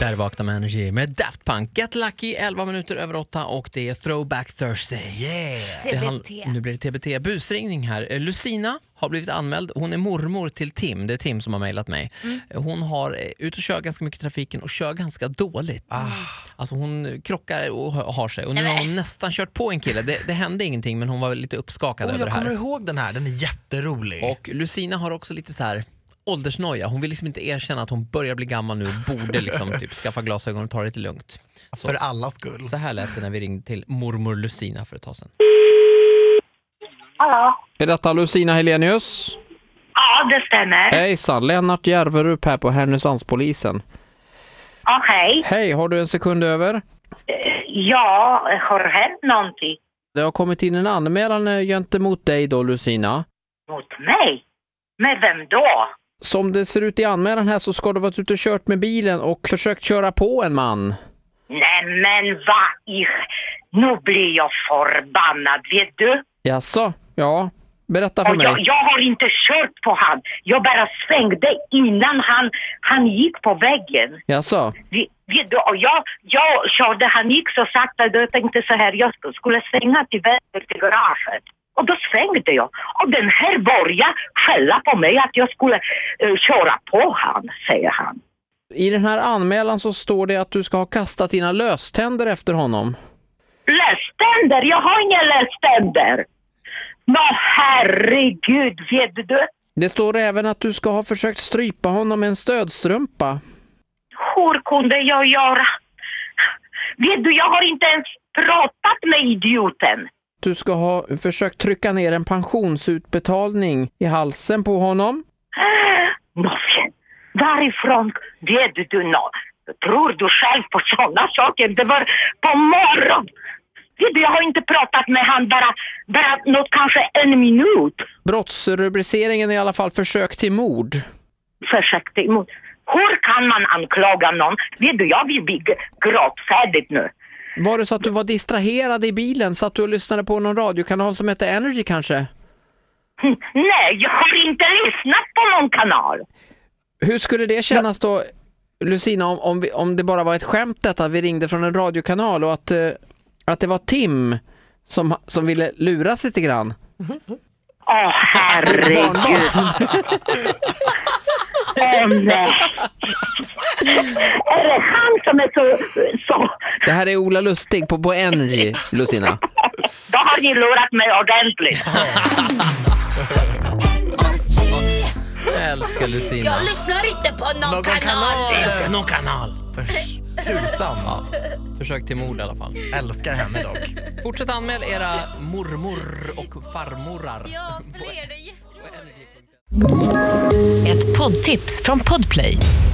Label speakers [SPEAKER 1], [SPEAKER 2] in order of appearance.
[SPEAKER 1] Där vaknar med Energy med Daft Punk. Get Lucky 11 minuter över 8 och det är Throwback Thursday.
[SPEAKER 2] Yeah!
[SPEAKER 1] Det
[SPEAKER 2] TBT.
[SPEAKER 1] nu blir det TBT. Busringning här. Eh, Lucina har blivit anmäld. Hon är mormor till Tim. Det är Tim som har mejlat mig. Eh, Hon har eh, ut och kör ganska mycket i trafiken och kör ganska dåligt. Alltså hon eh, krockar och ha- har sig. Och nu har hon nästan kört på en kille. Det, det hände ingenting men hon var lite uppskakad
[SPEAKER 3] Oh,
[SPEAKER 1] över
[SPEAKER 3] jag
[SPEAKER 1] det här.
[SPEAKER 3] kommer ihåg den här, den är jätterolig.
[SPEAKER 1] Och Lucina har också lite så här åldersnoja. Hon vill liksom inte erkänna att hon börjar bli gammal nu och borde liksom typ skaffa glasögon och ta det lite lugnt.
[SPEAKER 3] för allas skull.
[SPEAKER 1] Så här lät det när vi ringde till mormor Lucina för ett tag sedan.
[SPEAKER 4] Hallå?
[SPEAKER 5] Är detta Lucina Helenius?
[SPEAKER 4] Ja, det stämmer.
[SPEAKER 5] Hejsan, Lennart Järverup här på Härnösandspolisen.
[SPEAKER 4] Ja, hej.
[SPEAKER 5] Hej, har du en sekund över?
[SPEAKER 4] Ja, har det hänt någonting
[SPEAKER 5] Det har kommit in en anmälan eh, gentemot dig då Lucina.
[SPEAKER 4] mot mig? Med vem då?
[SPEAKER 5] Som det ser ut i anmälan här så ska du ha varit ute och kört med bilen och försökt köra på en man.
[SPEAKER 4] Nej men vad i... Nu blir jag förbannad, vet du?
[SPEAKER 5] Jaså? Ja. Berätta för
[SPEAKER 4] Och jag,
[SPEAKER 5] mig.
[SPEAKER 4] jag har inte kört på han. Jag bara svängde innan han, han gick på väggen.
[SPEAKER 5] Jaså?
[SPEAKER 4] Vi- Vet du, och jag, jag körde, han gick så sakta, då jag tänkte så här, jag sk- skulle svänga till vänster till garaget. Och då svängde jag. Och den här började skälla på mig att jag skulle eh, köra på han, säger han.
[SPEAKER 5] I den här anmälan så står det att du ska ha kastat dina löständer efter honom.
[SPEAKER 4] Läständer, jag har inga läständer! Nå herregud, vet du?
[SPEAKER 5] Det står även att du ska ha försökt strypa honom med en stödstrumpa.
[SPEAKER 4] Hur kunde jag göra? Vet du, jag har inte ens pratat med idioten.
[SPEAKER 5] Du ska ha försökt trycka ner en pensionsutbetalning i halsen på honom.
[SPEAKER 4] Noffen, varifrån vet du något? Tror du själv på sådana saker? Det var på morgonen. Vet du, Jag har inte pratat med han bara, bara något, kanske en minut.
[SPEAKER 5] Brottsrubriceringen är i alla fall försök till mord.
[SPEAKER 4] Försökte emot. Hur kan man anklaga någon? Vet du, jag vill bli g- gråtfärdig nu.
[SPEAKER 5] Var det så att du var distraherad i bilen? Satt du och lyssnade på någon radiokanal som hette Energy kanske?
[SPEAKER 4] Hm, Nej, jag har inte lyssnat på någon kanal.
[SPEAKER 5] Hur skulle det kännas då, Lucina, om, om, vi, om det bara var ett skämt detta, att vi ringde från en radiokanal och att, eh, att det var Tim som, som ville luras lite grann?
[SPEAKER 4] Åh herregud. Åh nej. Är det han som är så, så...
[SPEAKER 5] Det här är Ola Lustig på, på Energy, Lucina.
[SPEAKER 4] Då har ni lurat mig ordentligt.
[SPEAKER 1] Jag älskar Lucina.
[SPEAKER 2] Jag lyssnar inte på någon,
[SPEAKER 3] Någon
[SPEAKER 2] kanal.
[SPEAKER 3] kanal.
[SPEAKER 1] någon kanal.
[SPEAKER 3] För tusan.
[SPEAKER 1] Försök till mord i alla fall.
[SPEAKER 3] Älskar henne dock.
[SPEAKER 1] Fortsätt anmäl era mormor och farmorar.
[SPEAKER 2] Ja, fler, det är jätteroligt.
[SPEAKER 6] Ett poddtips från Podplay.